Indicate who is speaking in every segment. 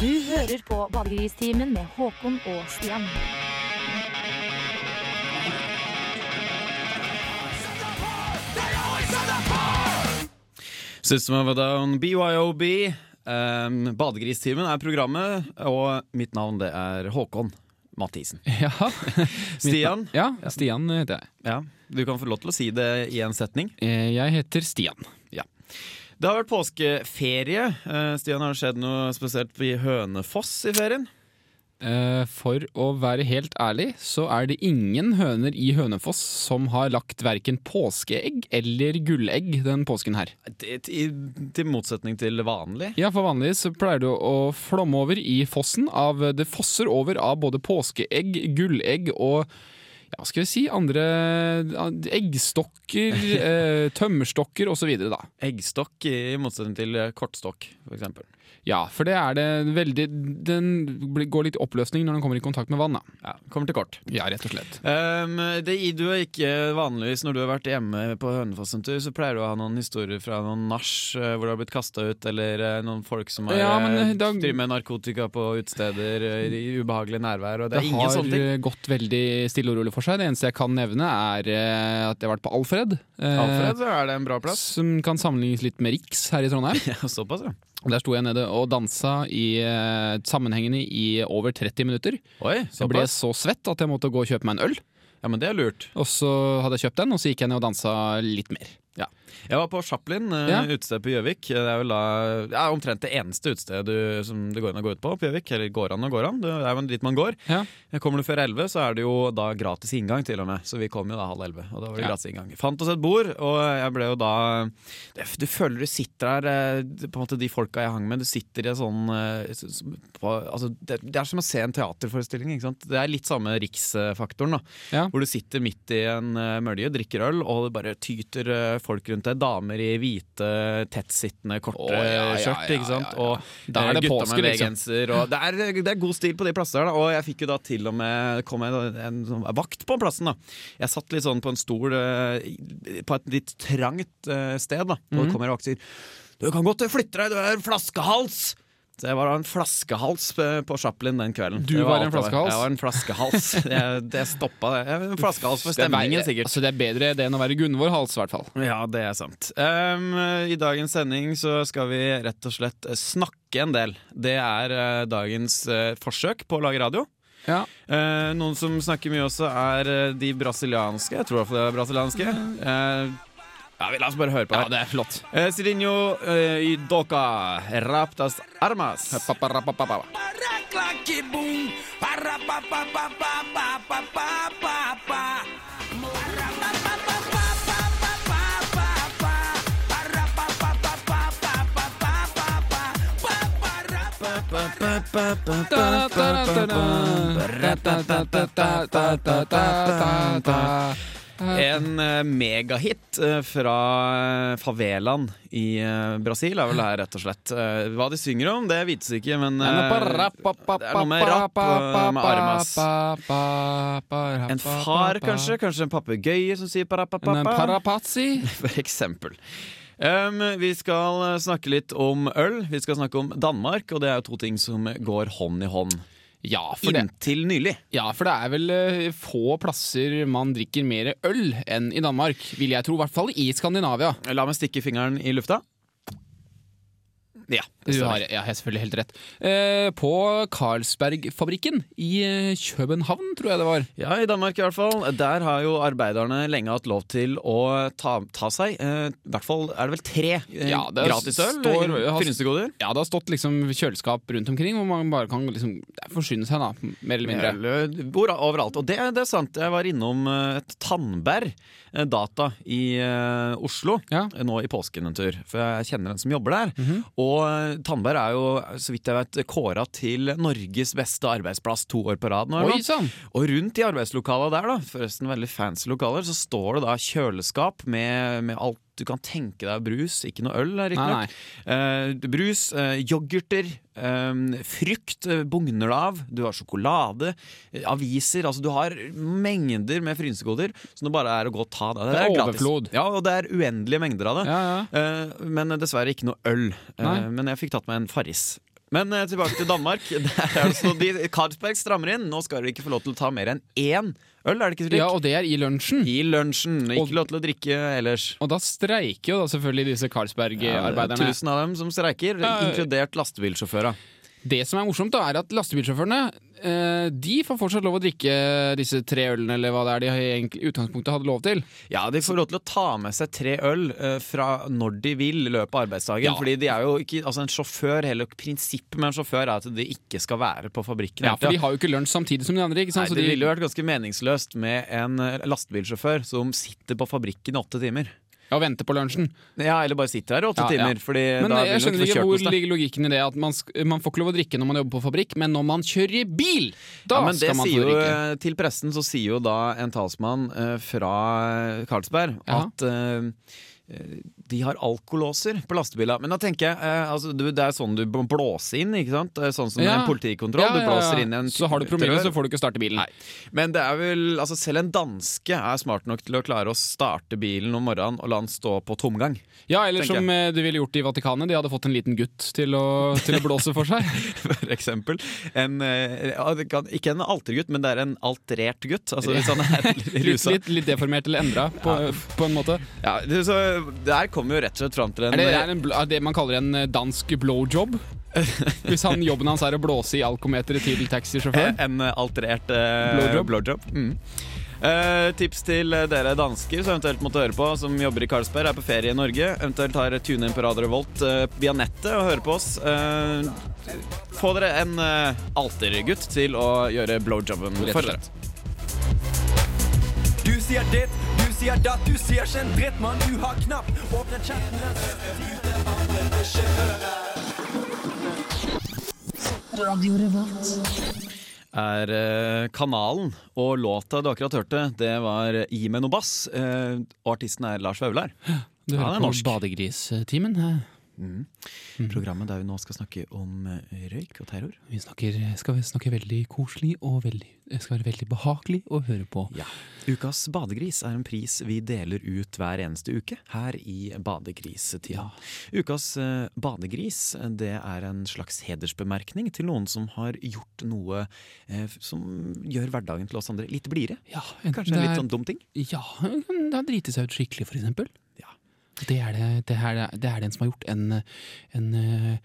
Speaker 1: Du hører på Badegristimen med Håkon og Stian.
Speaker 2: System of a Down, BYOB. Um, Badegristimen er programmet, og mitt navn det er Håkon Mathisen.
Speaker 3: Ja.
Speaker 2: Stian?
Speaker 3: Ja, Stian heter jeg.
Speaker 2: Ja, Du kan få lov til å si det i en setning.
Speaker 3: Eh, Jeg heter Stian.
Speaker 2: Det har vært påskeferie. Eh, Stian, har det skjedd noe spesielt i Hønefoss i ferien?
Speaker 3: Eh, For å være helt ærlig, så er det ingen høner i Hønefoss som har lagt verken påskeegg eller gullegg den påsken her.
Speaker 2: Til, til, til motsetning til vanlig.
Speaker 3: Ja, for vanlig så pleier det å flomme over i fossen av Det fosser over av både påskeegg, gullegg og ja, hva skal vi si, andre eh, eggstokker, eh, tømmerstokker osv. da.
Speaker 2: Eggstokk i motsetning til kortstokk, f.eks.
Speaker 3: Ja, for det er det veldig Den blir- går litt i oppløsning når den kommer i kontakt med vann, da.
Speaker 2: Ja, kommer til kort.
Speaker 3: Ja, rett og slett.
Speaker 2: Um, det i- du er ikke vanligvis Når du har vært hjemme på Hønefoss en tur, så pleier du å ha noen historier fra noen nach eh, hvor du har blitt kasta ut, eller eh, noen folk som har,
Speaker 3: Ja, men,
Speaker 2: eh,
Speaker 3: eh, da-
Speaker 2: driver med narkotika på utesteder eh, i ubehagelig nærvær. Og det, er ingen
Speaker 3: har
Speaker 2: sånne ting.
Speaker 3: eh, gått veldig stille og rolig for seg. Det eneste jeg kan nevne, er eh, at jeg har vært på Alfred. eh,
Speaker 2: Alfred, så er det en bra plass.
Speaker 3: Som kan sammenlignes litt med Riks her i Trondheim.
Speaker 2: Ja, såpass, ja.
Speaker 3: Der sto jeg nede og dansa i, eh, sammenhengende i over 30 minutter.
Speaker 2: Oi,
Speaker 3: Jeg ble
Speaker 2: såpass.
Speaker 3: så svett at jeg måtte gå og kjøpe meg en øl.
Speaker 2: Ja, men det er lurt.
Speaker 3: Og så hadde jeg kjøpt den, og så gikk jeg ned og dansa litt mer.
Speaker 2: Jeg var på Chaplin, eh,
Speaker 3: Ja.
Speaker 2: utested på Gjøvik. Det er vel da, ja, omtrent det eneste utestedet du- som det går an å gå ut på på Gjøvik. Eller går an og går an, det er jo dit man går.
Speaker 3: Ja.
Speaker 2: Kommer du før elleve, så er det jo da gratis inngang, til og med. Så vi kom jo da halv elleve, og da var det
Speaker 3: Ja.
Speaker 2: gratis inngang. Fant oss et bord, og jeg ble jo da det- Du føler du sitter der, eh, på en måte de folka jeg hang med, du sitter i en sånn eh, s- s- på, altså, det, det er som å se en teaterforestilling, ikke sant. Det er litt samme riksfaktoren, da.
Speaker 3: Ja.
Speaker 2: Hvor du sitter midt i en eh, mølje, drikker øl, og det bare tyter eh, folk rundt deg. Damer i hvite, tettsittende, korte
Speaker 3: Å, ja, ja,
Speaker 2: skjørt,
Speaker 3: ja,
Speaker 2: ikke sant.
Speaker 3: ja, ja.
Speaker 2: Og
Speaker 3: Da er
Speaker 2: eh,
Speaker 3: det
Speaker 2: gutta
Speaker 3: påske,
Speaker 2: med
Speaker 3: liksom.
Speaker 2: V-genser. og Det, er- det er god stil på de plassene der, da. Og jeg fikk jo da til og med kom jeg, da- en sånn vakt på plassen, da. Jeg satt litt sånn på en stol eh, i- på et litt trangt eh, sted, da.
Speaker 3: Mhm.
Speaker 2: Og det kommer en vakt og sier Du kan godt flytte deg, du er en flaskehals! Så jeg var da en flaskehals eh, på Chaplin den kvelden.
Speaker 3: Du
Speaker 2: Det
Speaker 3: var en
Speaker 2: alt jeg
Speaker 3: flaskehals?
Speaker 2: Jeg var en flaskehals. Jeg, det stoppa det. Jeg var En flaskehals for
Speaker 3: Det er
Speaker 2: stemningen,
Speaker 3: verre-
Speaker 2: sikkert.
Speaker 3: Altså, det er bedre det enn å være Gunvor Hals, i hvert fall.
Speaker 2: Ja, det er sant. Ehm, I dagens sending så skal vi rett og slett snakke en del. Det er eh, dagens eh, forsøk på å lage radio.
Speaker 3: Ja.
Speaker 2: Eh, noen som snakker mye også, er eh, de brasilianske. Jeg tror i hvert fall det er brasilianske. Eh, ja, vi- La oss bare høre på
Speaker 3: ja,
Speaker 2: her.
Speaker 3: det er flott.
Speaker 2: Eh, Sirinho eh, i Doca Raptas Armas.
Speaker 3: Papparapapapa.
Speaker 2: En eh, megahit eh, fra eh, favelaen i eh, Brasil er vel det her, rett og slett. Eh, Hva de synger om, det vites ikke, men eh, det er noe med rapp eh, med armas. En far, kanskje? Kanskje en papegøye som sier
Speaker 3: En
Speaker 2: parapapapa?
Speaker 3: parapazzi?
Speaker 2: For eksempel. Um, vi skal eh, snakke litt om øl. Vi skal snakke om Danmark, og det er jo to ting som går hånd i hånd.
Speaker 3: Ja, for det.
Speaker 2: Inntil nylig.
Speaker 3: Ja, for det er vel eh, få plasser man drikker mer øl enn i Danmark, vil jeg tro. I hvert fall i Skandinavia.
Speaker 2: La meg stikke fingeren i lufta. Ja.
Speaker 3: Du
Speaker 2: det
Speaker 3: har,
Speaker 2: stemmer.
Speaker 3: ja, jeg har selvfølgelig helt rett. Eh, på Carlsbergfabrikken i eh, København, tror jeg det var.
Speaker 2: Ja, i Danmark i hvert fall. Der har jo arbeiderne lenge hatt lov til å ta, ta seg eh, I hvert fall er det vel tre eh,
Speaker 3: Ja, det
Speaker 2: gratisøl?
Speaker 3: står-
Speaker 2: i-
Speaker 3: har-
Speaker 2: Frynsegoder?
Speaker 3: Ja, Det har stått liksom kjøleskap rundt omkring hvor man bare kan liksom ja, forsyne seg, da, mer eller mindre.
Speaker 2: Eller Eh, hvor- Overalt. Og det, det er sant. Jeg var innom eh, et Tandberg eh, Data i eh, Oslo
Speaker 3: Ja. Mhm.
Speaker 2: eh, nå i påsken en tur. For jeg kjenner en som jobber der. Og eh, Tandberg er jo, så vidt jeg vet, kåra til Norges beste arbeidsplass to år på rad nå. eller
Speaker 3: Oi sånn.
Speaker 2: noe.
Speaker 3: sann!
Speaker 2: Og rundt i arbeidslokala der, da, forresten veldig fancy lokaler, så står det da kjøleskap med, med alt du kan tenke deg av brus. Ikke noe øl,
Speaker 3: Nei,
Speaker 2: riktignok. Eh, brus, eh, yoghurter, eh, frukt eh, bugner det av. Du har sjokolade, eh, aviser. Altså du har mengder med frynsegoder som det bare er å gå og ta. Det,
Speaker 3: Det er
Speaker 2: gratis.
Speaker 3: overflod.
Speaker 2: Ja, og det er uendelige mengder av det.
Speaker 3: Ja, ja.
Speaker 2: Eh, men dessverre ikke noe øl. Eh,
Speaker 3: Nei.
Speaker 2: men jeg fikk tatt meg en Farris. Men eh, tilbake til Danmark. Der er det så de, Carlsberg strammer inn. Nå skal du ikke få lov til å ta mer enn én øl, er det ikke slik?
Speaker 3: Ja, og det er i lunsjen.
Speaker 2: I lunsjen.
Speaker 3: Og-
Speaker 2: Ikke lov til å drikke ellers.
Speaker 3: Og da streiker jo da selvfølgelig
Speaker 2: Ja,
Speaker 3: disse
Speaker 2: det er
Speaker 3: Carlsberg-arbeiderne.
Speaker 2: Tusen av dem som streiker,
Speaker 3: Ja, ja.
Speaker 2: inkludert lastebilsjåfører.
Speaker 3: det som er morsomt, da, er at lastebilsjåførene eh, de får fortsatt lov å drikke disse tre ølene, eller hva det er de egentlig i utgangspunktet hadde lov til.
Speaker 2: Ja, de får lov til å ta med seg tre øl eh, fra når de vil i løpet av arbeidsdagen.
Speaker 3: Ja.
Speaker 2: Fordi de er jo ikke, altså en sjåfør, hele prinsippet med en sjåfør er at de ikke skal være på fabrikken.
Speaker 3: Ja,
Speaker 2: hele
Speaker 3: For
Speaker 2: tiden.
Speaker 3: de har jo ikke lunsj samtidig som Altså, de andre. ikke
Speaker 2: Nei,
Speaker 3: sant?
Speaker 2: det ville jo vært ganske meningsløst med en eh, lastebilsjåfør som sitter på fabrikken i åtte timer.
Speaker 3: ja, venter på lunsjen.
Speaker 2: Ja, eller bare sitter her i åtte
Speaker 3: Ja, ja.
Speaker 2: timer, fordi Eh,
Speaker 3: Men
Speaker 2: da vil
Speaker 3: jeg
Speaker 2: du
Speaker 3: skjønner
Speaker 2: ikke få
Speaker 3: ikke
Speaker 2: kjørt
Speaker 3: hvor
Speaker 2: noe sted.
Speaker 3: ligger logikken i det at man, sk man får ikke lov å drikke når man jobber på fabrikk, men når man kjører i bil, da
Speaker 2: Ja, men det
Speaker 3: skal man
Speaker 2: sier
Speaker 3: få
Speaker 2: jo,
Speaker 3: drikke.
Speaker 2: eh, Til pressen så sier jo da en talsmann eh, fra eh, Carlsberg
Speaker 3: Ja.
Speaker 2: at eh, eh, de har alkolåser på lastebiler. Men da tenker jeg, eh, altså, du, det er sånn du bl- blåser inn, ikke sant? Eh, Sånn som
Speaker 3: Ja.
Speaker 2: en politikontroll.
Speaker 3: Ja, ja,
Speaker 2: Du blåser
Speaker 3: ja.
Speaker 2: inn en
Speaker 3: Så har du promille,
Speaker 2: trør.
Speaker 3: så får du ikke starte bilen. Nei.
Speaker 2: Men det er vel, altså selv en danske er smart nok til å klare å starte bilen om morgenen og la den stå på tomgang.
Speaker 3: Ja, eller
Speaker 2: Tenker
Speaker 3: som eh, de ville gjort i Vatikanet, de hadde fått en liten gutt til å, til å blåse for seg.
Speaker 2: For eksempel. En, eh, ja, det kan- ikke en altergutt, men det er en alterert gutt. Altså, hvis han er
Speaker 3: Litt,
Speaker 2: rusa.
Speaker 3: litt, litt deformert eller endra, på, på en måte.
Speaker 2: Ja, det- så der kommer vi jo rett og slett fram til en
Speaker 3: Er det, er det en, bl- er det man kaller en eh, dansk blowjob? Hvis han, jobben hans er å blåse i alkometeret til taxisjåføren?
Speaker 2: En eh, alterert eh,
Speaker 3: Blowjob.
Speaker 2: Mm. Eh, tips til eh, dere dansker som eventuelt måtte høre på, som jobber i Carlsberg, er på ferie i Norge. Eventuelt har tune inn på Radio Revolt eh, via nettet og høre på oss. Eh, få dere en eh, altergutt til å gjøre blowjobben
Speaker 3: og
Speaker 2: for dere.
Speaker 3: slett.
Speaker 4: Du sier ditt, du sier datt, du sier ikke en dritt, mann. Du har knapt åpnet chatten.
Speaker 2: er eh, kanalen. Og låta du akkurat hørte, det var Gi meg noe bass. eh, og artisten er Lars Vaular.
Speaker 3: Du
Speaker 2: Ja, det
Speaker 3: hører
Speaker 2: er
Speaker 3: på
Speaker 2: norsk.
Speaker 3: Badegristimen. eh.
Speaker 2: Programmet der vi nå skal snakke om eh, røyk og terror.
Speaker 3: Vi snakker, skal snakke veldig koselig og veldig, det skal være veldig behagelig å høre på.
Speaker 2: Ja. Ukas badegris er en pris vi deler ut hver eneste uke her i Badegristida. Ukas eh, badegris eh, det er en slags hedersbemerkning til noen som har gjort noe eh, f- som gjør hverdagen til oss andre litt blidere.
Speaker 3: Ja, enten
Speaker 2: Kanskje
Speaker 3: det
Speaker 2: en
Speaker 3: er-
Speaker 2: litt sånn dum ting.
Speaker 3: Ja, det har driti seg ut skikkelig, for eksempel.
Speaker 2: Ja.
Speaker 3: Det er det, det, er det, det er den som har gjort en, en eh,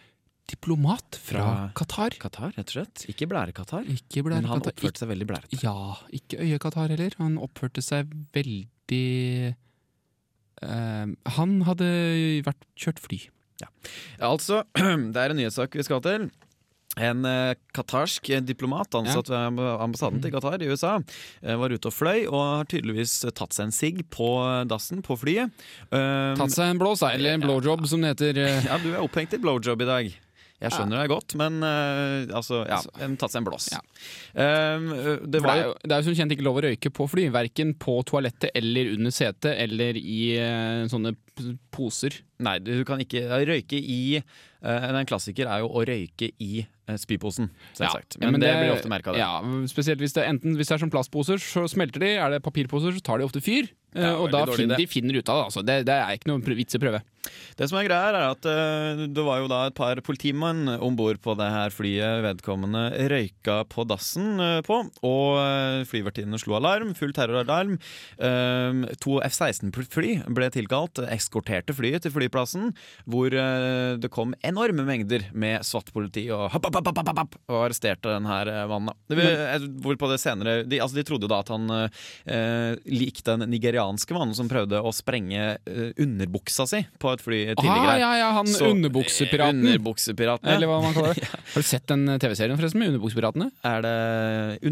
Speaker 3: diplomat fra
Speaker 2: Fra-
Speaker 3: Qatar.
Speaker 2: Qatar, rett og slett. Ikke blærekatar.
Speaker 3: Ikke ble
Speaker 2: Men han
Speaker 3: Qatar-
Speaker 2: oppførte seg veldig blærete.
Speaker 3: ikke, Ja, ikke øye-Qatar heller. Han oppførte seg veldig eh, Han hadde vært kjørt fly.
Speaker 2: Altså, det er en nyhetssak vi skal til. En eh, qatarsk diplomat ansatt ved amb- ambassaden til Qatar i USA eh, var ute og fløy og har tydeligvis eh, tatt seg en sigg på dassen på flyet. Um,
Speaker 3: Tatt seg en blås, da, eller en blowjob, som det heter. eh.
Speaker 2: ja, du er opphengt i blowjob i dag. Jeg skjønner deg godt, men eh, altså, ja, en- tatt seg en blås.
Speaker 3: Ja.
Speaker 2: Um, det
Speaker 3: For det,
Speaker 2: var
Speaker 3: er
Speaker 2: jo
Speaker 3: jo, det er jo som kjent ikke lov å røyke på fly, verken på toalettet eller under setet eller i eh, sånne p- poser.
Speaker 2: Nei, du kan ikke røyke i eh, En klassiker er jo å røyke i eh, spyposen, selvsagt.
Speaker 3: Ja,
Speaker 2: Men, det, blir ofte merka, det.
Speaker 3: Ja, spesielt hvis det, enten hvis det er som plastposer, så smelter de. Er det papirposer, så tar de ofte fyr. eh,
Speaker 2: Ja, veldig
Speaker 3: og da
Speaker 2: dårlig
Speaker 3: finner
Speaker 2: idé.
Speaker 3: de finner ut av det. Altså. Det, det er ikke noe pr- vits i å prøve.
Speaker 2: Det som er greia her er at eh, det var jo da et par politimann om bord på det her flyet vedkommende røyka på dassen eh, på, og eh, flyvertinnene slo alarm, full terroralarm. Eh, to F-16-fly ble tilkalt, eskorterte flyet til flyplassen, hvor eh, det kom enorme mengder med SWAT-politi og hopp, hopp, hopp, hopp, hopp, hopp, og arresterte den her eh, mannen. da. Det, eh, hvorpå det senere de, altså, de trodde jo da at han eh, likte den nigerianske mannen som prøvde å sprenge eh, underbuksa si på et fly tidligere.
Speaker 3: Ah, ja, ja, han
Speaker 2: Så- eh,
Speaker 3: underbuksepiraten.
Speaker 2: Underbuksepiratene.
Speaker 3: Eller hva man kaller det. Har du sett den eh, TV-serien forresten med Underbuksepiratene?
Speaker 2: Er det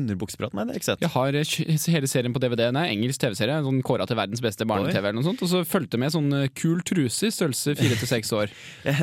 Speaker 2: Underbuksepiratene? Nei, det har jeg ikke sett.
Speaker 3: Jeg har eh, kj- hele serien på DVD. Nei, engelsk TV-serie. Sånn Kåra til verdens beste barne-TV eller noe sånt. Og så fulgte med sånn eh, kul truse i størrelse fire til seks år.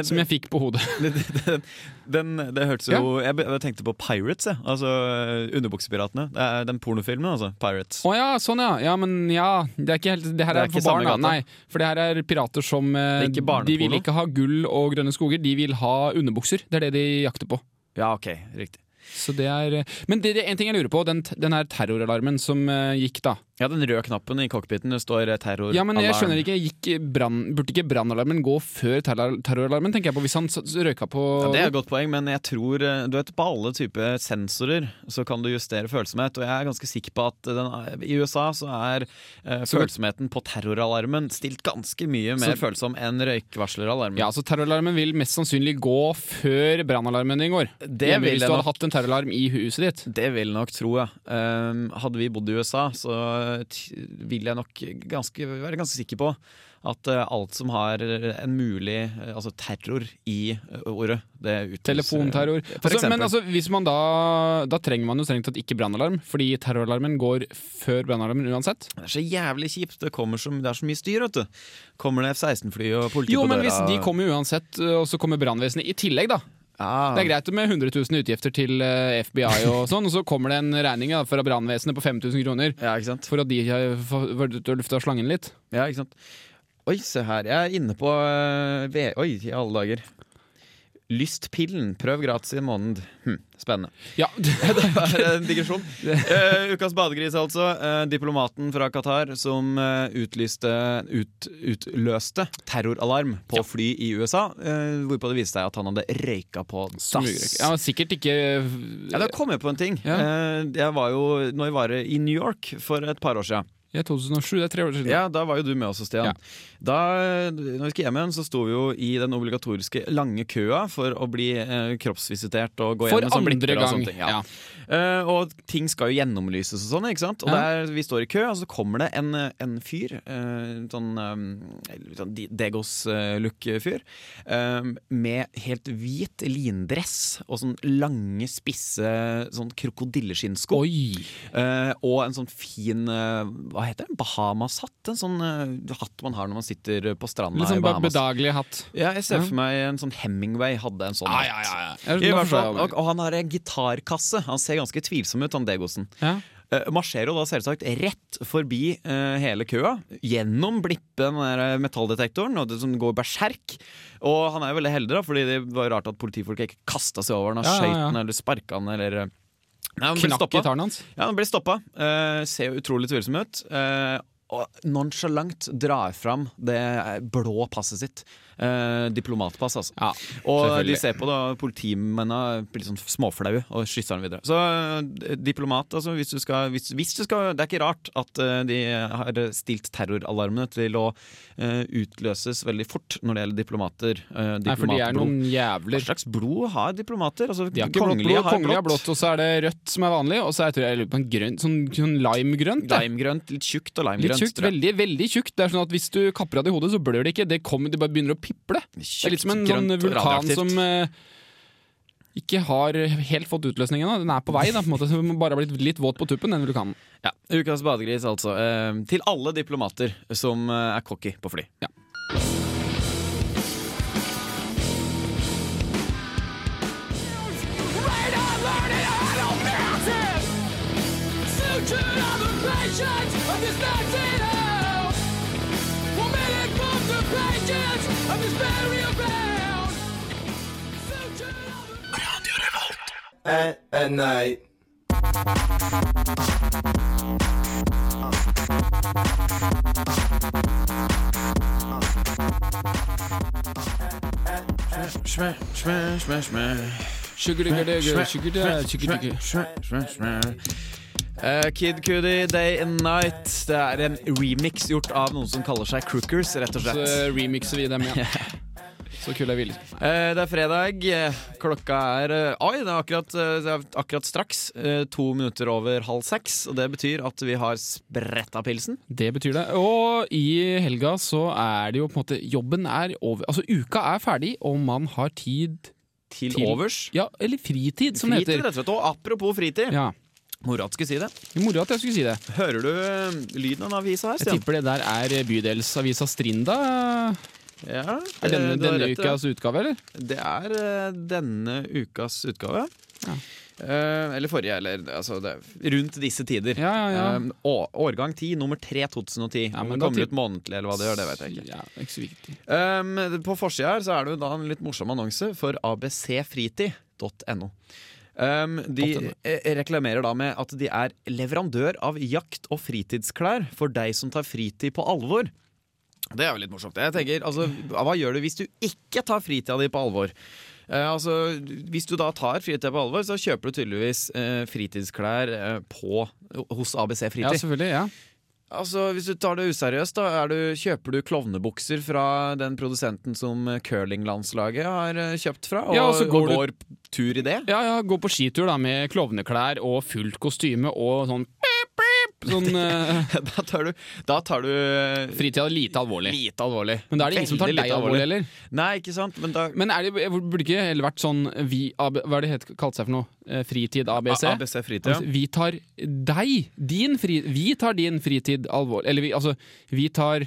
Speaker 3: Som jeg fikk på hodet.
Speaker 2: Den, den, den, det hørtes jo jeg, be- jeg tenkte på Pirates, jeg. Altså eh, Underbuksepiratene. Det er Den pornofilmen, altså. Pirates.
Speaker 3: Å ja, sånn ja. Ja, men ja. Det er ikke helt Det her
Speaker 2: Det
Speaker 3: er,
Speaker 2: er ikke
Speaker 3: for
Speaker 2: samme
Speaker 3: barn, da.
Speaker 2: gata.
Speaker 3: Nei. For det her er pirater som eh,
Speaker 2: Det er ikke barneporno.
Speaker 3: De vil ikke ha gull og grønne skoger, de vil ha underbukser. Det er det de jakter på.
Speaker 2: Ja, ok, riktig.
Speaker 3: Så det er eh, Men det, det, en ting jeg lurer på, den, t- den her terroralarmen som eh, gikk da.
Speaker 2: Ja, den røde knappen i cockpiten det står eh, 'terror
Speaker 3: Ja, men jeg
Speaker 2: alarm.
Speaker 3: skjønner ikke, gikk brann, Burde ikke brannalarmen gå før terror- terroralarmen, tenker jeg på, hvis han s- s- røyka på
Speaker 2: Ja, det er et godt poeng, men jeg tror eh, Du vet, på alle typer sensorer så kan du justere følsomhet, og jeg er ganske sikker på at den, er- i USA så er eh,
Speaker 3: Så-
Speaker 2: følsomheten på terroralarmen stilt ganske mye mer
Speaker 3: Så-
Speaker 2: følsom enn røykvarsleralarmen.
Speaker 3: Ja, så terroralarmen vil mest sannsynlig gå før brannalarmen din går.
Speaker 2: Det vil
Speaker 3: hvis
Speaker 2: jeg
Speaker 3: du hadde
Speaker 2: nok.
Speaker 3: hatt en terroralarm i huset ditt.
Speaker 2: Det vil jeg nok tro, ja. Um, hadde vi bodd i USA, så eh, t vil jeg nok ganske, være ganske sikker på at eh, alt som har en mulig eh, altså terror i eh, ordet, det utløser
Speaker 3: Telefonterror.
Speaker 2: For
Speaker 3: Altså,
Speaker 2: eksempel.
Speaker 3: men altså, hvis man da, da trenger man jo strengt tatt ikke brannalarm, fordi terroralarmen går før brannalarmen uansett.
Speaker 2: Det er så jævlig kjipt. Det, kommer så, det er så mye styr, vet du. Kommer det F-16-fly og politi
Speaker 3: Jo,
Speaker 2: på
Speaker 3: men
Speaker 2: døra
Speaker 3: hvis de kommer uansett, og så kommer brannvesenet i tillegg, da.
Speaker 2: ja.
Speaker 3: Det er greit med 100 000 utgifter til eh, FBI og sånn, og så kommer det en regning da, fra brannvesenet på 5000 kroner
Speaker 2: Ja, ikke sant?
Speaker 3: for at de har f- vært ute og lufta slangen litt.
Speaker 2: Ja, ikke sant? Oi, se her. Jeg er inne på eh, V... Oi, i alle dager. Lystpillen. Prøv gratis i en måned. Hm, spennende.
Speaker 3: Ja,
Speaker 2: Det var en digresjon. Eh, ukas badegris, altså. Eh, diplomaten fra Qatar som eh, utlyste, ut, utløste terroralarm på fly i USA. eh, hvorpå det viste seg at han hadde røyka på dass.
Speaker 3: ja sikkert ikke
Speaker 2: Ja, da kom jeg på en ting.
Speaker 3: Ja.
Speaker 2: Eh, Jeg var jo når jeg var i New York for et par år siden.
Speaker 3: Ja, 2007, det er tre år siden.
Speaker 2: Ja, Da var jo du med også, Stian.
Speaker 3: Ja.
Speaker 2: Da når vi skulle hjem igjen, så sto vi jo i den obligatoriske lange køa for å bli eh, kroppsvisitert og gå
Speaker 3: For
Speaker 2: gjennom sånn
Speaker 3: andre
Speaker 2: blikker og
Speaker 3: gang.
Speaker 2: sånne ting.
Speaker 3: Ja.
Speaker 2: Ja. Eh, og ting skal jo gjennomlyses og sånn, ikke sant. Og
Speaker 3: Ja.
Speaker 2: der vi står i kø, og så kommer det en, en fyr, eh, sånn, eh, sånn Degos-look-fyr, eh, med helt hvit lindress og sånn lange, spisse sånn krokodilleskinn-sko.
Speaker 3: Oi!
Speaker 2: Eh, og en sånn fin eh, Hva heter den? Bahamas-hatt? En sånn eh, hatt man har når man sitter på stranda
Speaker 3: Litt sånn
Speaker 2: i Bahamas.
Speaker 3: bedagelig hatt.
Speaker 2: Ja, jeg ser for meg en sånn Hemingway hadde en sånn hatt.
Speaker 3: Jeg,
Speaker 2: I
Speaker 3: nå
Speaker 2: hvert
Speaker 3: forstår
Speaker 2: fall,
Speaker 3: jeg
Speaker 2: og, og han har en gitarkasse. Han ser ganske tvilsom ut, han Degosen.
Speaker 3: hva du mener. Ja.
Speaker 2: Eh, marsjerer jo da selvsagt rett forbi eh, hele køa, gjennom blippen den der eh, metalldetektoren, og det som går berserk. Og han er jo veldig heldig, da, fordi det var rart at politifolk ikke kasta seg over han og
Speaker 3: Ja, ja,
Speaker 2: skøyt
Speaker 3: ja.
Speaker 2: han eller sparka han eller eh. Nei, han ble
Speaker 3: Knakk
Speaker 2: stoppet.
Speaker 3: gitaren hans.
Speaker 2: Ja, han blir stoppa. Eh, ser jo utrolig tvilsom ut. Eh, og nonchalant drar fram det eh, blå passet sitt. Eh, diplomatpass, altså.
Speaker 3: Ja,
Speaker 2: og de
Speaker 3: selvfølgelig.
Speaker 2: ser på da politimennene blir litt sånn småflaue og kysser han videre. Så eh, diplomat, altså hvis du skal, hvis, hvis du skal Det er ikke rart at eh, de har stilt terroralarmene til å eh, utløses veldig fort når det gjelder diplomater. Eh,
Speaker 3: Nei, for de er
Speaker 2: diplomatblod.
Speaker 3: noen
Speaker 2: Hva
Speaker 3: jævler.
Speaker 2: slags blod har diplomater? Altså,
Speaker 3: De har ikke blått blod. Kongelig er blått, og så er det rødt som er vanlig. Og så er jeg tror jeg jeg lurer på en grønn, sånn, sånn limegrønt. det.
Speaker 2: Limegrønt, litt tjukt og limegrønt.
Speaker 3: Litt tjukt,
Speaker 2: tror jeg.
Speaker 3: veldig, veldig tjukt. Det er sånn at Hvis du kapper av det i hodet, så blør det ikke. Det, kommer, det bare begynner å piple. Det er litt som en sånn
Speaker 2: grønt,
Speaker 3: vulkan
Speaker 2: radioaktivt.
Speaker 3: som eh, ikke har helt fått utløsningen. Da. Den er på vei, da, på en måte. Så den må bare har blitt litt våt på tuppen, den vulkanen.
Speaker 2: ja. Ukas badegris, altså. Eh, til alle diplomater som eh, er cocky på fly.
Speaker 3: Ja.
Speaker 5: at, at night.
Speaker 2: Eh, Kid Cudi, Day and Night. Det er en remix gjort av noen som kaller seg Crookers, rett og
Speaker 3: Så
Speaker 2: slett.
Speaker 3: remixer vi dem, ja. Så kul er vi. liksom.
Speaker 2: Eh, Det er fredag. Eh, Klokka er eh, Oi, det er akkurat, eh, det er akkurat straks eh, to minutter over halv seks. Og det betyr at vi har spretta pilsen.
Speaker 3: Det betyr det. Og i helga så er det jo på en måte Jobben er over. Altså, uka er ferdig, og man har tid
Speaker 2: Til,
Speaker 3: Til-
Speaker 2: overs.
Speaker 3: Ja, eller fritid, som
Speaker 2: Fritid,
Speaker 3: det heter.
Speaker 2: rett og slett. Og apropos fritid.
Speaker 3: Ja,
Speaker 2: Moro at du skulle si det.
Speaker 3: Moro at jeg skulle si det.
Speaker 2: Hører du eh, lyden av den avisa her,
Speaker 3: Jeg
Speaker 2: Stian?
Speaker 3: tipper det der er bydelsavisa Strinda.
Speaker 2: Ja,
Speaker 3: Er denne,
Speaker 2: eh, du har
Speaker 3: denne
Speaker 2: rett i det.
Speaker 3: ukas utgave, eller?
Speaker 2: Det er eh, denne ukas utgave.
Speaker 3: Ja.
Speaker 2: Eh, eller forrige, eller altså det, er rundt disse tider.
Speaker 3: Ja, ja, ja.
Speaker 2: Eh, å- årgang 10, nummer 3 2010.
Speaker 3: Ja,
Speaker 2: Om
Speaker 3: men
Speaker 2: det
Speaker 3: da
Speaker 2: kommer
Speaker 3: tip-
Speaker 2: ut månedlig eller hva det gjør, det vet jeg ikke.
Speaker 3: Ja, det er ikke så viktig.
Speaker 2: Ehm, Eh, på forsida her så er det jo da en litt morsom annonse for abcfritid.no. Um, de
Speaker 3: Topp
Speaker 2: eh, reklamerer da med at de er leverandør av jakt- og fritidsklær for deg som tar fritid på alvor. Det er jo litt morsomt. Jeg tenker, altså, Hva gjør du hvis du ikke tar fritida di på alvor? Eh, altså, hvis du da tar fritida på alvor, så kjøper du tydeligvis eh, fritidsklær eh, på, hos ABC Fritid.
Speaker 3: Ja, selvfølgelig. ja
Speaker 2: Altså, Hvis du tar det useriøst, da er du, kjøper du klovnebukser fra den produsenten som curlinglandslaget har eh, kjøpt fra, og,
Speaker 3: Ja, og så går
Speaker 2: og
Speaker 3: du-
Speaker 2: går tur i det?
Speaker 3: Ja, ja, gå på skitur da med klovneklær og fullt kostyme og sånn pip, pip, Sånn eh,
Speaker 2: Da tar du, da tar du eh,
Speaker 3: fritida er lite alvorlig.
Speaker 2: lite alvorlig.
Speaker 3: Men da er det ingen som tar
Speaker 2: Veldig
Speaker 3: deg
Speaker 2: lite
Speaker 3: alvorlig, eller?
Speaker 2: Nei, ikke sant? Men da
Speaker 3: Men er det, burde ikke heller vært sånn vi, AB, Hva er det het, kalt seg for noe? Eh, Fritid ABC?
Speaker 2: A- ABC Fritid.
Speaker 3: Altså,
Speaker 2: ja.
Speaker 3: Vi tar deg, din fri, vi tar din fritid alvorlig. Eller vi, altså, vi tar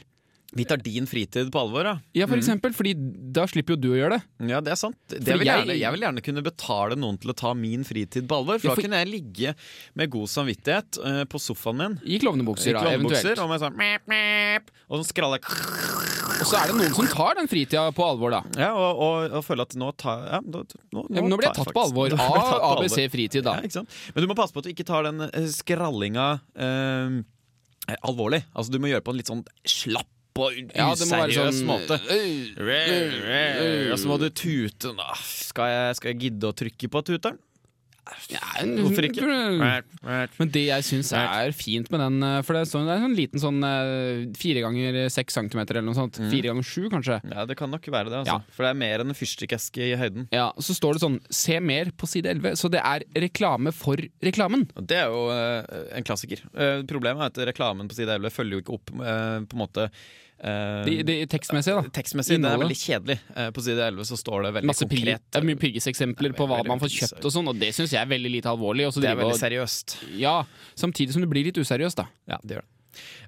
Speaker 2: Vi tar din fritid på alvor, ja.
Speaker 3: Ja, for eksempel, fordi da slipper jo du å gjøre det.
Speaker 2: Ja, det er sant. Det vil
Speaker 3: jeg-
Speaker 2: gjerne, jeg vil gjerne kunne betale noen til å ta min fritid på alvor. For
Speaker 3: Ja, for-
Speaker 2: da kunne jeg ligge med god samvittighet eh, på sofaen min.
Speaker 3: I
Speaker 2: I
Speaker 3: klovnebukser, da,
Speaker 2: klovnebukser
Speaker 3: eventuelt.
Speaker 2: og med sånn mep, mep, Og sånn skralle
Speaker 3: Og så er det noen som tar den fritida på alvor, da.
Speaker 2: Ja, og, og, og føle at nå tar ja, nå, nå,
Speaker 3: Ja, men nå blir jeg tatt på alvor
Speaker 2: Nå blir jeg tatt
Speaker 3: av
Speaker 2: på alvor.
Speaker 3: ABC Fritid,
Speaker 2: Ja,
Speaker 3: da.
Speaker 2: ikke sant? Men du må passe på at du ikke tar den eh, skrallinga eh, alvorlig. Altså, du må gjøre på en litt sånn slapp og
Speaker 3: Ja, det må være
Speaker 2: useriøs
Speaker 3: sånn Mm.
Speaker 2: måte.
Speaker 3: øh,
Speaker 2: Og så må du tute. Nå, Skal jeg, skal jeg gidde å trykke på tuteren?
Speaker 3: ja,
Speaker 2: Hvorfor ikke?
Speaker 3: Mm. Men det jeg syns er fint med den eh, For det står- det er en sånn liten sånn eh, fire ganger seks centimeter eller noe sånt.
Speaker 2: Mhm.
Speaker 3: Fire ganger sju, kanskje.
Speaker 2: Ja, det kan nok være det.
Speaker 3: Ja.
Speaker 2: Altså. For det er mer enn en fyrstikkeske i høyden.
Speaker 3: Ja, Så står det sånn 'Se mer på side 11'. Så det er reklame for reklamen.
Speaker 2: Og Det er jo eh, en klassiker. Eh, problemet er at reklamen på side 11 følger jo ikke opp eh, på en måte eh,
Speaker 3: Det, det er Tekstmessig, da.
Speaker 2: Tekstmessig den er
Speaker 3: Innholdet.
Speaker 2: veldig kjedelig. Eh, På side 11 så står det veldig
Speaker 3: Masse pri-
Speaker 2: konkret.
Speaker 3: det er mye pryggeseksempler på hva man får kjøpt, og sånn, og det syns jeg er veldig lite alvorlig. Og så
Speaker 2: Det er
Speaker 3: drive
Speaker 2: veldig
Speaker 3: og,
Speaker 2: seriøst.
Speaker 3: ja, samtidig som du blir litt useriøs, da.
Speaker 2: Ja, det gjør det.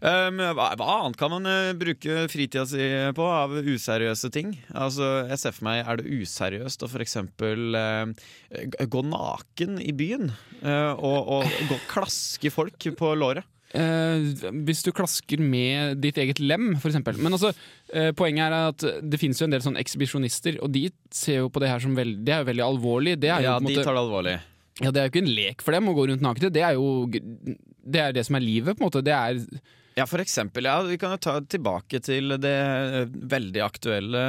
Speaker 2: Um, hva, hva annet kan man eh, bruke fritida si på av useriøse ting? Altså, Jeg ser for meg, er det useriøst å f.eks. Uh, gå naken i byen? eh, og, og gå og klaske folk på låret?
Speaker 3: Eh, hvis du klasker med ditt eget lem, f.eks. Men altså, eh, poenget er at det finnes jo en del sånn ekshibisjonister, og de ser jo på det her som veldig Det er jo veldig alvorlig. Det er jo,
Speaker 2: Ja,
Speaker 3: på en
Speaker 2: de
Speaker 3: måte,
Speaker 2: tar det alvorlig.
Speaker 3: ja, det er jo ikke en lek for dem å gå rundt nakne. Det er jo det, er det som er livet, på en måte. Det er
Speaker 2: Ja, for eksempel. Ja, vi kan jo ta tilbake til det eh, veldig aktuelle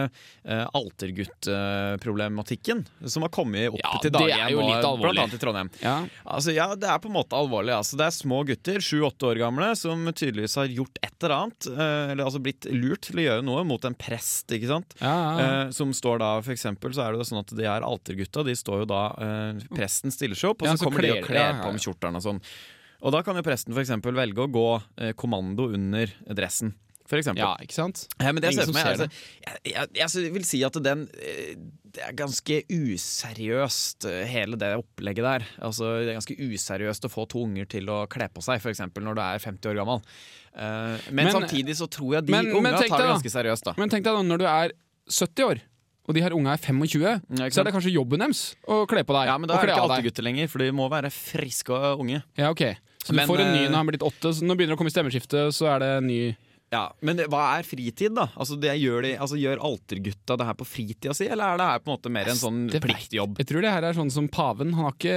Speaker 2: eh, altergutt-problematikken eh, som har kommet opp
Speaker 3: Ja,
Speaker 2: til
Speaker 3: det
Speaker 2: dagen
Speaker 3: er jo
Speaker 2: og
Speaker 3: litt alvorlig.
Speaker 2: blant annet i Trondheim.
Speaker 3: Ja,
Speaker 2: Altså, ja, Det er på en måte alvorlig. altså. Det er små gutter, sju-åtte år gamle, som tydeligvis har gjort et eller annet, eh, eller altså blitt lurt til å gjøre noe mot en prest, ikke sant.
Speaker 3: ja, ja.
Speaker 2: Eh, som står da, for eksempel, så er det jo sånn at de er altergutta. De står jo da eh, Presten stiller seg opp, og
Speaker 3: Ja,
Speaker 2: så
Speaker 3: så
Speaker 2: kommer de og
Speaker 3: kler- ja,
Speaker 2: kler
Speaker 3: ja,
Speaker 2: på
Speaker 3: ja.
Speaker 2: med kjortelen og sånn. Og da kan jo presten for eksempel velge å gå eh, kommando under dressen. For eksempel.
Speaker 3: ja, ikke sant?
Speaker 2: Ja, men det
Speaker 3: Ingen
Speaker 2: ser
Speaker 3: som
Speaker 2: for meg,
Speaker 3: ser
Speaker 2: altså, jeg, jeg, altså, jeg vil si at den eh, Det er ganske useriøst, eh, hele det opplegget der. Altså, det er ganske useriøst å få to unger til å kle på seg, f.eks. når du er 50 år gammel. Eh, men,
Speaker 3: Men-
Speaker 2: samtidig så tror jeg de
Speaker 3: men- men
Speaker 2: unga
Speaker 3: tenk
Speaker 2: tar det
Speaker 3: deg
Speaker 2: ganske seriøst, da.
Speaker 3: Men tenk deg da, når du er 70 år, og de her unga er 25,
Speaker 2: ikke
Speaker 3: så er det kanskje jobben deres å kle på deg.
Speaker 2: Ja, men da er
Speaker 3: og
Speaker 2: det
Speaker 3: kle
Speaker 2: ikke
Speaker 3: av deg.
Speaker 2: alltid gutter lenger, for de må være friske og unge.
Speaker 3: Ja, ok. Så
Speaker 2: Men,
Speaker 3: du får en ny
Speaker 2: eh,
Speaker 3: når han blir litt åtte. Så når det begynner å komme stemmeskifte, så er det en ny
Speaker 2: Ja, Men hva er fritid, da? Altså, det gjør, de, altså, gjør altergutta det her på fritida si, eller er det her på en måte mer en sånn
Speaker 3: Det vet-
Speaker 2: pliktjobb?
Speaker 3: Jeg tror det her er sånn som paven. Han, har ikke,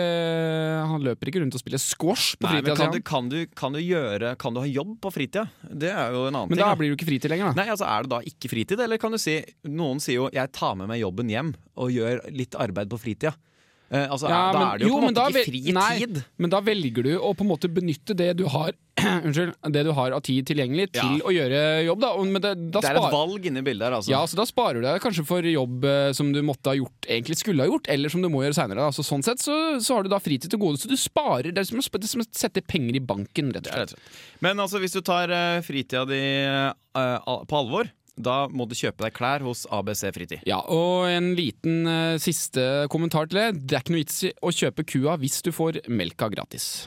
Speaker 3: han løper ikke rundt og spiller squash på
Speaker 2: Nei, men
Speaker 3: fritida
Speaker 2: kan du,
Speaker 3: si. han.
Speaker 2: kan, du, kan du gjøre Kan du ha jobb på fritida? Det er jo en annen
Speaker 3: Men
Speaker 2: ting.
Speaker 3: da
Speaker 2: da.
Speaker 3: blir det jo ikke fritid lenger, da.
Speaker 2: Nei, altså Er det da ikke fritid, eller kan du si Noen sier jo 'jeg tar med meg jobben hjem og gjør litt arbeid på fritida'. Eh, altså,
Speaker 3: Ja,
Speaker 2: er, da
Speaker 3: men-
Speaker 2: er det jo,
Speaker 3: jo,
Speaker 2: på
Speaker 3: men
Speaker 2: en
Speaker 3: da
Speaker 2: måte ikke
Speaker 3: vel-
Speaker 2: fri
Speaker 3: nei.
Speaker 2: tid.
Speaker 3: Men da velger du å på en måte benytte det du har Unnskyld, det du har av tid tilgjengelig, til
Speaker 2: Ja.
Speaker 3: å gjøre jobb, da. Og- Men det, da
Speaker 2: Det er et
Speaker 3: spar-
Speaker 2: valg inni bildet her, altså.
Speaker 3: ja, så da sparer du deg kanskje for jobb eh, som du måtte ha gjort, egentlig skulle ha gjort, eller som du må gjøre seinere. Så sånn sett så, så har du da fritid til gode, så du sparer. Det er som å sp- det er som å sette penger i banken, rett og slett.
Speaker 2: Men altså, hvis du tar eh, fritida di eh, al- på alvor, da må du kjøpe deg klær hos ABC Fritid.
Speaker 3: Ja, og en liten eh, siste kommentar til det. Det er ikke noe vits i å kjøpe kua hvis du får melka gratis.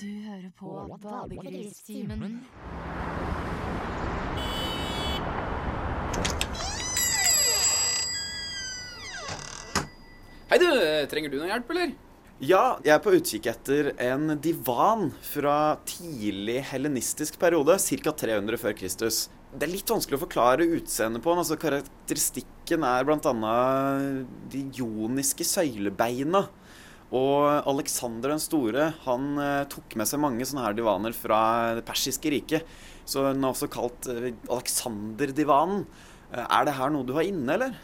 Speaker 1: Du hører på Badegristimen.
Speaker 3: Hei du, trenger du noe hjelp, eller?
Speaker 6: Ja, jeg er på utkikk etter en divan fra tidlig helenistisk periode, ca. 300 før Kristus. Det er litt vanskelig å forklare utseendet på den. altså Karakteristikken er bl.a. de joniske søylebeina. Og Aleksander den store han eh, tok med seg mange sånne her divaner fra det persiske riket. Så den er også kalt eh, Aleksanderdivanen. Eh, Er det her noe du har inne, eller?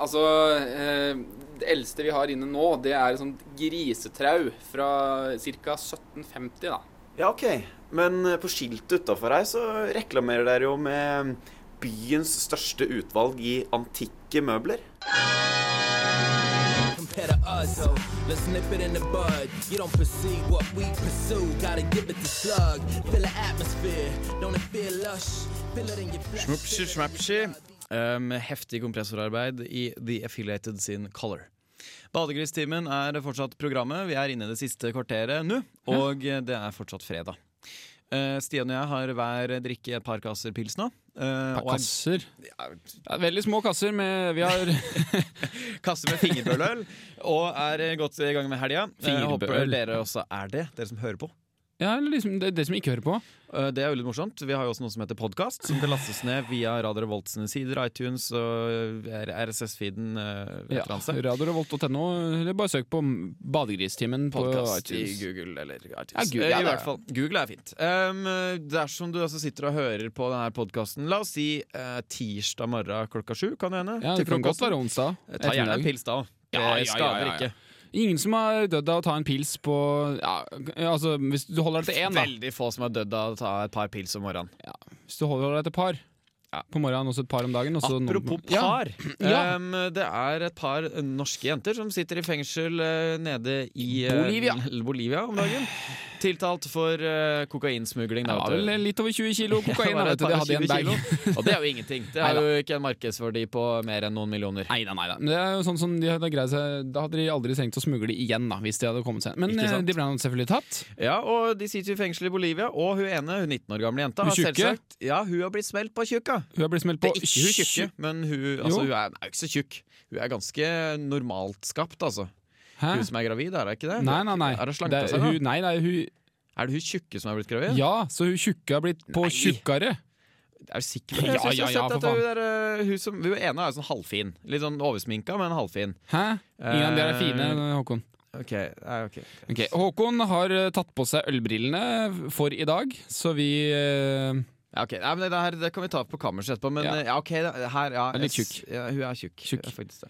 Speaker 7: Altså, eh, det eldste vi har inne nå, det er et sånt grisetrau fra ca. 1750, da.
Speaker 6: Ja, ok. Men eh, på skiltet utafor her så reklamerer dere jo med mm, byens største utvalg i antikke møbler.
Speaker 8: compare to us, so let's nip it in the bud. You don't pursue what we pursue, gotta give it the slug. Feel the atmosphere, don't it feel lush? Feel it in your flesh.
Speaker 2: Schmupschi, schmapschi. eh, Med heftig kompressorarbeid i The Affiliated sin Color. Badegristimen er fortsatt programmet. Vi er inne i det siste kvarteret nå, og eh, det er fortsatt fredag. Eh, Stian og jeg har hver drikke et par kasser pils nå. eh, og er-
Speaker 3: Kasser. Ja, veldig små kasser med Vi har
Speaker 2: Kasse med fingerbøløl. Og er eh, godt i gang med helga. Eh, Jeg håper
Speaker 3: Fingerbøl.
Speaker 2: dere også er det, dere som hører på.
Speaker 3: Ja, eller liksom det, det som ikke hører på.
Speaker 2: Eh, Det er jo litt morsomt. Vi har jo også noe som heter podkast, som det lastes ned via Radio Revolt sine sider, iTunes og eh, RSS-feeden.
Speaker 3: Ja, Radio Revolt.no, eller bare søk på Badegristimen på
Speaker 2: Podkast i
Speaker 3: iTunes.
Speaker 2: Google eller iTunes.
Speaker 3: Ja, Google,
Speaker 2: Eh,
Speaker 3: ja,
Speaker 2: I
Speaker 3: det er-
Speaker 2: hvert fall. Google er fint. Um, eh, dersom du altså sitter og hører på denne podkasten, la oss si eh, tirsdag morgen klokka sju, kan det hende?
Speaker 3: Ja,
Speaker 2: til
Speaker 3: det kan godt
Speaker 2: frokosten.
Speaker 3: være onsdag.
Speaker 2: Eh, Ta gjerne en
Speaker 3: ettermiddag.
Speaker 2: pils da òg. Det
Speaker 3: Ja, ja, ja,
Speaker 2: skader
Speaker 3: ja, ja.
Speaker 2: ikke.
Speaker 3: Ingen som har dødd av å ta en pils på ja, Altså, hvis du holder deg til én, da.
Speaker 2: Veldig få som har dødd av å ta et par pils om morgenen.
Speaker 3: Hvis du holder deg til par. På morgenen også et par om dagen. og så noen-
Speaker 2: Apropos
Speaker 3: Altså, Ja.
Speaker 2: par.
Speaker 3: Ja.
Speaker 2: Em, det er et par norske jenter som sitter i fengsel eh, nede i eh,
Speaker 3: Bolivia.
Speaker 2: Bolivia om dagen. Tiltalt for eh, kokainsmugling.
Speaker 3: Det
Speaker 2: da,
Speaker 3: var
Speaker 2: vet du.
Speaker 3: vel litt over 20 kilo kokain.
Speaker 2: Bare et
Speaker 3: da, vet du, det
Speaker 2: par
Speaker 3: hadde i en
Speaker 2: 20
Speaker 3: bag.
Speaker 2: kilo. Og det er jo ingenting. Det er
Speaker 3: Neida.
Speaker 2: jo ikke en markedsverdi på mer enn noen millioner.
Speaker 3: Neida, neida. Men det er jo sånn som de hadde greid seg Da hadde de aldri trengt å smugle igjen, da, hvis de hadde kommet seg Men
Speaker 2: Ikke
Speaker 3: eh,
Speaker 2: sant?
Speaker 3: de ble nå selvfølgelig tatt.
Speaker 2: Ja, og De sitter i fengsel i Bolivia, og hun ene, hun 19 år gamle jenta,
Speaker 3: Hun
Speaker 2: har
Speaker 3: tjukke?
Speaker 2: selvsagt Ja, hun har blitt smelt på tjukka.
Speaker 3: Hun er blitt smelt
Speaker 2: Det
Speaker 3: på
Speaker 2: er ikke hun tjukke, men hun, altså,
Speaker 3: Jo.
Speaker 2: hun er, er jo ikke så tjukk. Hun er ganske normalt skapt, altså.
Speaker 3: Hæ?
Speaker 2: Hun som er gravid, er hun ikke det?
Speaker 3: Nei, nei, nei.
Speaker 2: Er hun
Speaker 3: Det
Speaker 2: slanka
Speaker 3: er-
Speaker 2: seg, da?
Speaker 3: hun, nei, det er hun
Speaker 2: Er det hun tjukke som er blitt gravid?
Speaker 3: Ja, så hun tjukke har blitt på
Speaker 2: Nei.
Speaker 3: tjukkere.
Speaker 2: Er du sikker? på det?
Speaker 3: Ja,
Speaker 2: Jeg synes jeg
Speaker 3: ja,
Speaker 2: har
Speaker 3: ja,
Speaker 2: sett
Speaker 3: for
Speaker 2: at Hun, der, øh, hun, som, hun ene er jo sånn halvfin. Litt sånn oversminka, men halvfin.
Speaker 3: Hæ? Ingen av de er fine,
Speaker 2: Eh,
Speaker 3: Håkon.
Speaker 2: Ok, nei, ok.
Speaker 3: Ok, Håkon har eh, tatt på seg ølbrillene for i dag, så vi eh,
Speaker 2: Ja, ok. Nei, men det, her, det kan vi ta på kammerset etterpå, men
Speaker 3: Ja.
Speaker 2: ja, ja ok, det, her ja,
Speaker 3: Er litt
Speaker 2: jeg s-
Speaker 3: tjukk.
Speaker 2: Ja, hun er tjukk.
Speaker 3: Tjukk.
Speaker 2: Ja, faktisk det.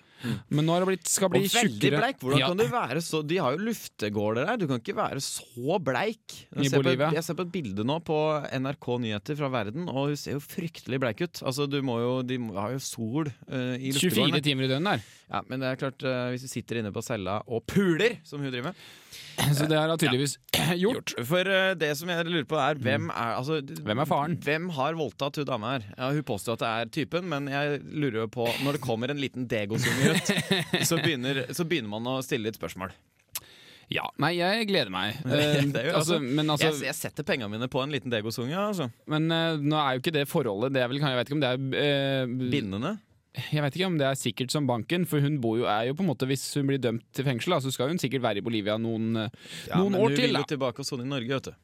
Speaker 3: Men nå har det blitt, skal
Speaker 2: Og
Speaker 3: bli
Speaker 2: veldig
Speaker 3: tjukkere.
Speaker 2: bleik! Hvordan
Speaker 3: Ja.
Speaker 2: kan du være så De har jo luftegårder der, du kan ikke være så bleik.
Speaker 3: I
Speaker 2: Jeg ser, på,
Speaker 3: Bolivia.
Speaker 2: jeg ser på et bilde nå på NRK Nyheter fra verden, og hun ser jo fryktelig bleik ut. Altså, du må jo, De må- har jo sol øh, i luftegårdene.
Speaker 3: 24 timer i døgnet der.
Speaker 2: Ja, men det er klart, eh, hvis du sitter inne på cella og puler, som hun driver med
Speaker 3: Så det her har tydeligvis gjort.
Speaker 2: For eh, det som jeg lurer på er, hvem er altså,
Speaker 3: Mm. Hvem er faren?
Speaker 2: Hvem har voldtatt hun dame her? Ja, hun påstår at det er typen, men jeg lurer jo på Når det kommer en liten degosunge ut, så begynner, så begynner man å stille litt spørsmål.
Speaker 3: Ja. Nei, jeg gleder meg. Eh,
Speaker 2: Det er jo,
Speaker 3: altså,
Speaker 2: altså,
Speaker 3: men altså
Speaker 2: jeg, jeg setter pengene mine på en liten degosunge, altså.
Speaker 3: Men eh, nå er jo ikke det forholdet det er vel, Jeg vet ikke om det er eh,
Speaker 2: Bindende.
Speaker 3: Jeg vet ikke om det er sikkert som banken, for hun bor jo, er jo på en måte Hvis hun blir dømt til fengsel, da, så skal hun sikkert være i Bolivia noen, eh,
Speaker 2: Ja,
Speaker 3: noen
Speaker 2: men
Speaker 3: år
Speaker 2: hun
Speaker 3: til.
Speaker 2: vil
Speaker 3: Da.
Speaker 2: jo tilbake og sone i Norge, vet du.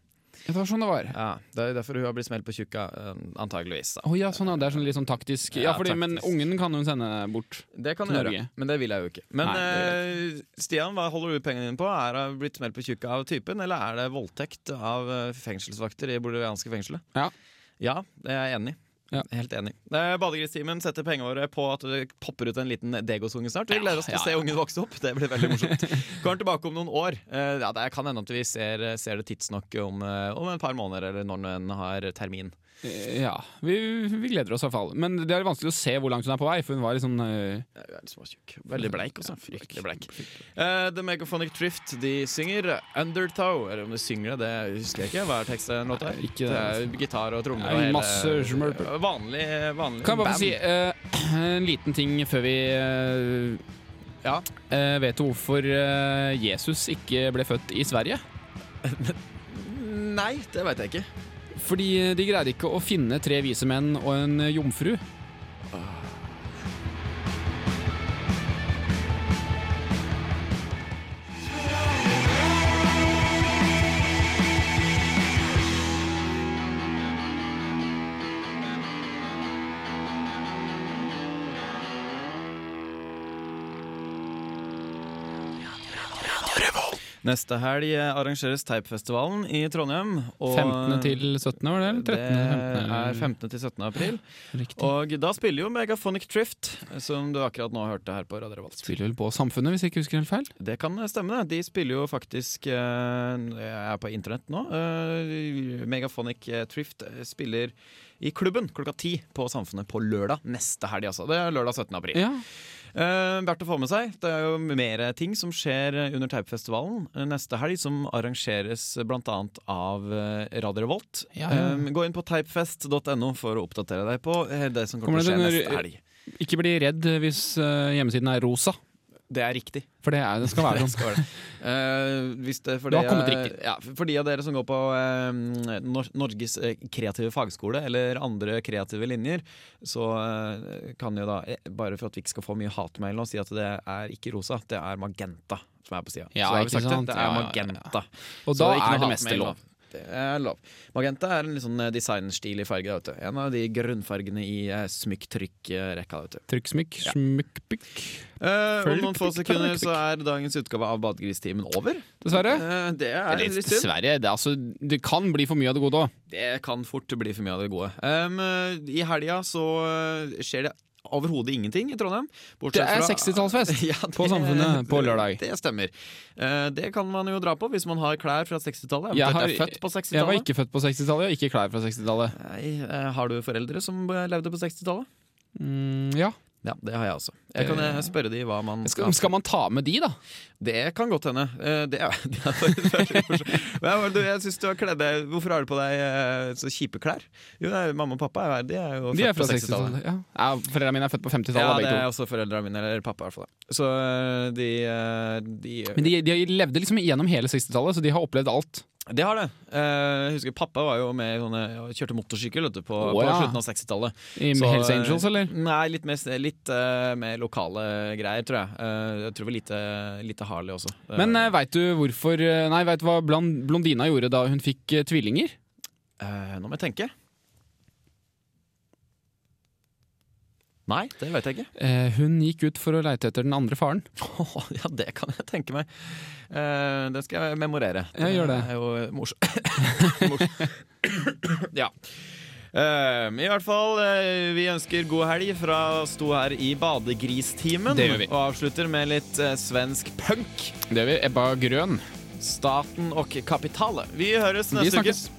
Speaker 3: Det var sånn det var.
Speaker 2: Ja, det er jo derfor hun har blitt smelt på tjukka, eh, antageligvis. Da.
Speaker 3: Å ja, sånn, ja, det er sånn litt sånn taktisk. Ja,
Speaker 2: Ja,
Speaker 3: fordi, Men
Speaker 2: taktisk.
Speaker 3: ungen kan hun sende bort.
Speaker 2: Det kan du
Speaker 3: Til
Speaker 2: gjøre,
Speaker 3: Norge.
Speaker 2: men det vil jeg jo ikke. Men
Speaker 3: Nei,
Speaker 2: eh, Stian, hva holder du pengene dine på? Er det blitt smelt på tjukka av typen, eller er det voldtekt av eh, fengselsvakter i bolivianske fengselet?
Speaker 3: Ja.
Speaker 2: Ja, det er jeg enig i.
Speaker 3: Ja.
Speaker 2: Helt enig. Eh, Badegristimen setter pengene våre på at det popper ut en liten degosunge snart. Vi
Speaker 3: Ja,
Speaker 2: gleder oss til
Speaker 3: ja,
Speaker 2: å se
Speaker 3: ja.
Speaker 2: ungen vokse opp. Det blir veldig morsomt. Kommer tilbake om noen år. Eh, ja, det kan hende at vi ser, ser det tidsnok om, eh, om et par måneder, eller når den har termin.
Speaker 3: Eh, ja. Vi, vi gleder oss i hvert fall. Men det er vanskelig å se hvor langt hun er på vei, for hun var litt sånn eh,
Speaker 2: Ja, hun er litt småtjukk. Veldig bleik, altså. Fryktelig bleik. Eh, The Megaphonic Drift de synger Undertow. Eller om de synger det, det husker jeg ikke. Hva er teksten låta?
Speaker 3: Nei, ikke det. altså.
Speaker 2: det er gitar og trommer
Speaker 3: Nei,
Speaker 2: og hele-
Speaker 3: masse smørpe.
Speaker 2: Vanlig, vanlig
Speaker 3: Kan jeg bare
Speaker 2: band.
Speaker 3: få si eh, en liten ting før vi eh,
Speaker 2: Ja.
Speaker 3: eh, Vet du hvorfor eh, Jesus ikke ble født i Sverige?
Speaker 2: Nei, det veit jeg ikke.
Speaker 3: Fordi de greide ikke å finne tre vise menn og en jomfru.
Speaker 2: Neste helg eh, arrangeres Teipfestivalen i Trondheim. og
Speaker 3: 15. til 17. var det? Eller 13.
Speaker 2: Det er
Speaker 3: 15.
Speaker 2: 15. til 17. april.
Speaker 3: Riktig.
Speaker 2: Og da spiller jo Megaphonic Trift, som du akkurat nå hørte her på Radio Revolt.
Speaker 3: Spiller vel på Samfunnet, hvis jeg ikke husker helt feil.
Speaker 2: Det kan stemme, det. De spiller jo faktisk eh, Jeg er på internett nå. eh, Megaphonic eh, Trift spiller i klubben klokka ti på Samfunnet på lørdag neste helg, altså. Det er lørdag 17. april.
Speaker 3: Ja,
Speaker 2: Eh, verdt å få med seg. Det er jo mer ting som skjer under Teipfestivalen eh, neste helg, som arrangeres bl.a. av eh, Radio Revolt.
Speaker 3: Ja, ja.
Speaker 2: Eh, gå inn på teipfest.no for å oppdatere deg på eh, det som kommer til å skje
Speaker 3: Kommer det
Speaker 2: neste
Speaker 3: noen-
Speaker 2: helg.
Speaker 3: Ikke bli redd hvis eh, hjemmesiden er rosa,
Speaker 2: Det er riktig.
Speaker 3: for det, er, det skal være
Speaker 2: Det
Speaker 3: sånn.
Speaker 2: skal være det. Eh, hvis det, for
Speaker 3: Du
Speaker 2: de,
Speaker 3: har kommet
Speaker 2: eh,
Speaker 3: riktig.
Speaker 2: Ja, for de av dere som går på eh, Nor Norges eh, kreative fagskole eller andre kreative linjer, så eh, kan jo da, eh, bare for at vi ikke skal få mye hatmail nå, si at det er ikke rosa, det er magenta som er på sida.
Speaker 3: Ja,
Speaker 2: så har
Speaker 3: ikke
Speaker 2: vi sagt
Speaker 3: sant?
Speaker 2: det. Det
Speaker 3: Ja,
Speaker 2: er
Speaker 3: ja, ja.
Speaker 2: magenta.
Speaker 3: Og
Speaker 2: Så
Speaker 3: da
Speaker 2: ikke noe
Speaker 3: er det
Speaker 2: hatmail
Speaker 3: meste
Speaker 2: nå.
Speaker 3: lov.
Speaker 2: Det er lov. Magenta er en litt sånn eh, designstilig farge. Vet du. En av de grunnfargene i eh, smykk-trykk-rekka. vet du.
Speaker 3: Trykksmykk, smykkpykk.
Speaker 2: Eh, om
Speaker 3: Følg-
Speaker 2: noen få sekunder så er dagens utgave av Badegristimen over.
Speaker 3: Dessverre.
Speaker 2: Eh, det er
Speaker 3: Eller
Speaker 2: litt synd.
Speaker 3: dessverre. Det, er altså, det kan bli for mye av det gode òg.
Speaker 2: Det kan fort bli for mye av det gode. Um, I helga så uh, skjer det overhodet ingenting i Trondheim.
Speaker 3: Det er 60-tallsfest på Samfunnet på lørdag.
Speaker 2: Det stemmer. Uh, det kan man jo dra på hvis man har klær fra 60-tallet.
Speaker 3: Jeg
Speaker 2: Eventuelt er
Speaker 3: har-
Speaker 2: født på
Speaker 3: Jeg var
Speaker 2: 60-tallet.
Speaker 3: ikke født på 60-tallet, og ikke klær fra 60-tallet.
Speaker 2: Nei, eh, Har du foreldre som eh, levde på 60-tallet?
Speaker 3: Mm, ja.
Speaker 2: Ja, det har jeg også. Jeg kan eh, spørre de hva man
Speaker 3: skal, skal man ta med de, da?
Speaker 2: Det kan godt hende. Eh, Det er, det er faktisk veldig morsomt. Men jeg- du, jeg synes du har kledd deg Hvorfor har du på deg eh, så kjipe klær? Jo, det er, Mamma og pappa er, de er jo
Speaker 3: De er
Speaker 2: født på
Speaker 3: fra
Speaker 2: 60-tallet.
Speaker 3: 60-tallet. Ja. Ja, Foreldrene mine er født på 50-tallet,
Speaker 2: Ja, det
Speaker 3: da,
Speaker 2: er
Speaker 3: begge to.
Speaker 2: også foreldrene mine, eller pappa i hvert fall. da. Så øh, de, øh, de,
Speaker 3: Men de, de levde liksom gjennom hele 60-tallet, så de har opplevd alt.
Speaker 2: de har det. Eh, Jeg husker pappa var jo med i sånne, kjørte motorsykkel vet du, på,
Speaker 3: Å,
Speaker 2: på
Speaker 3: ja.
Speaker 2: slutten av 60-tallet.
Speaker 3: I
Speaker 2: Så,
Speaker 3: Hells Angels,
Speaker 2: øh,
Speaker 3: eller?
Speaker 2: Nei, litt mer, litt, øh, mer lokale greier, tror jeg. Eh, jeg tror det var lite, lite Harley også. Eh,
Speaker 3: Men uh, veit du hvorfor eh, Nei, veit du hva Blan- Blondina gjorde da hun fikk eh, tvillinger?
Speaker 2: eh, nå må jeg tenke. Nei, det vet jeg ikke.
Speaker 3: Eh, hun gikk ut for å leite etter den andre faren.
Speaker 2: ja, det kan jeg tenke meg. Eh, det skal jeg memorere.
Speaker 3: Ja, gjør det.
Speaker 2: er jo mors... mors- ja. Eh, I hvert fall, eh, vi ønsker god helg fra oss to her i Badegristimen.
Speaker 3: Det gjør vi.
Speaker 2: Og avslutter med litt eh, svensk punk.
Speaker 3: Det gjør vi. Ebba Grøn.
Speaker 2: Staten og kapitalet. Vi høres
Speaker 3: Vi
Speaker 2: neste uke.
Speaker 3: snakkes.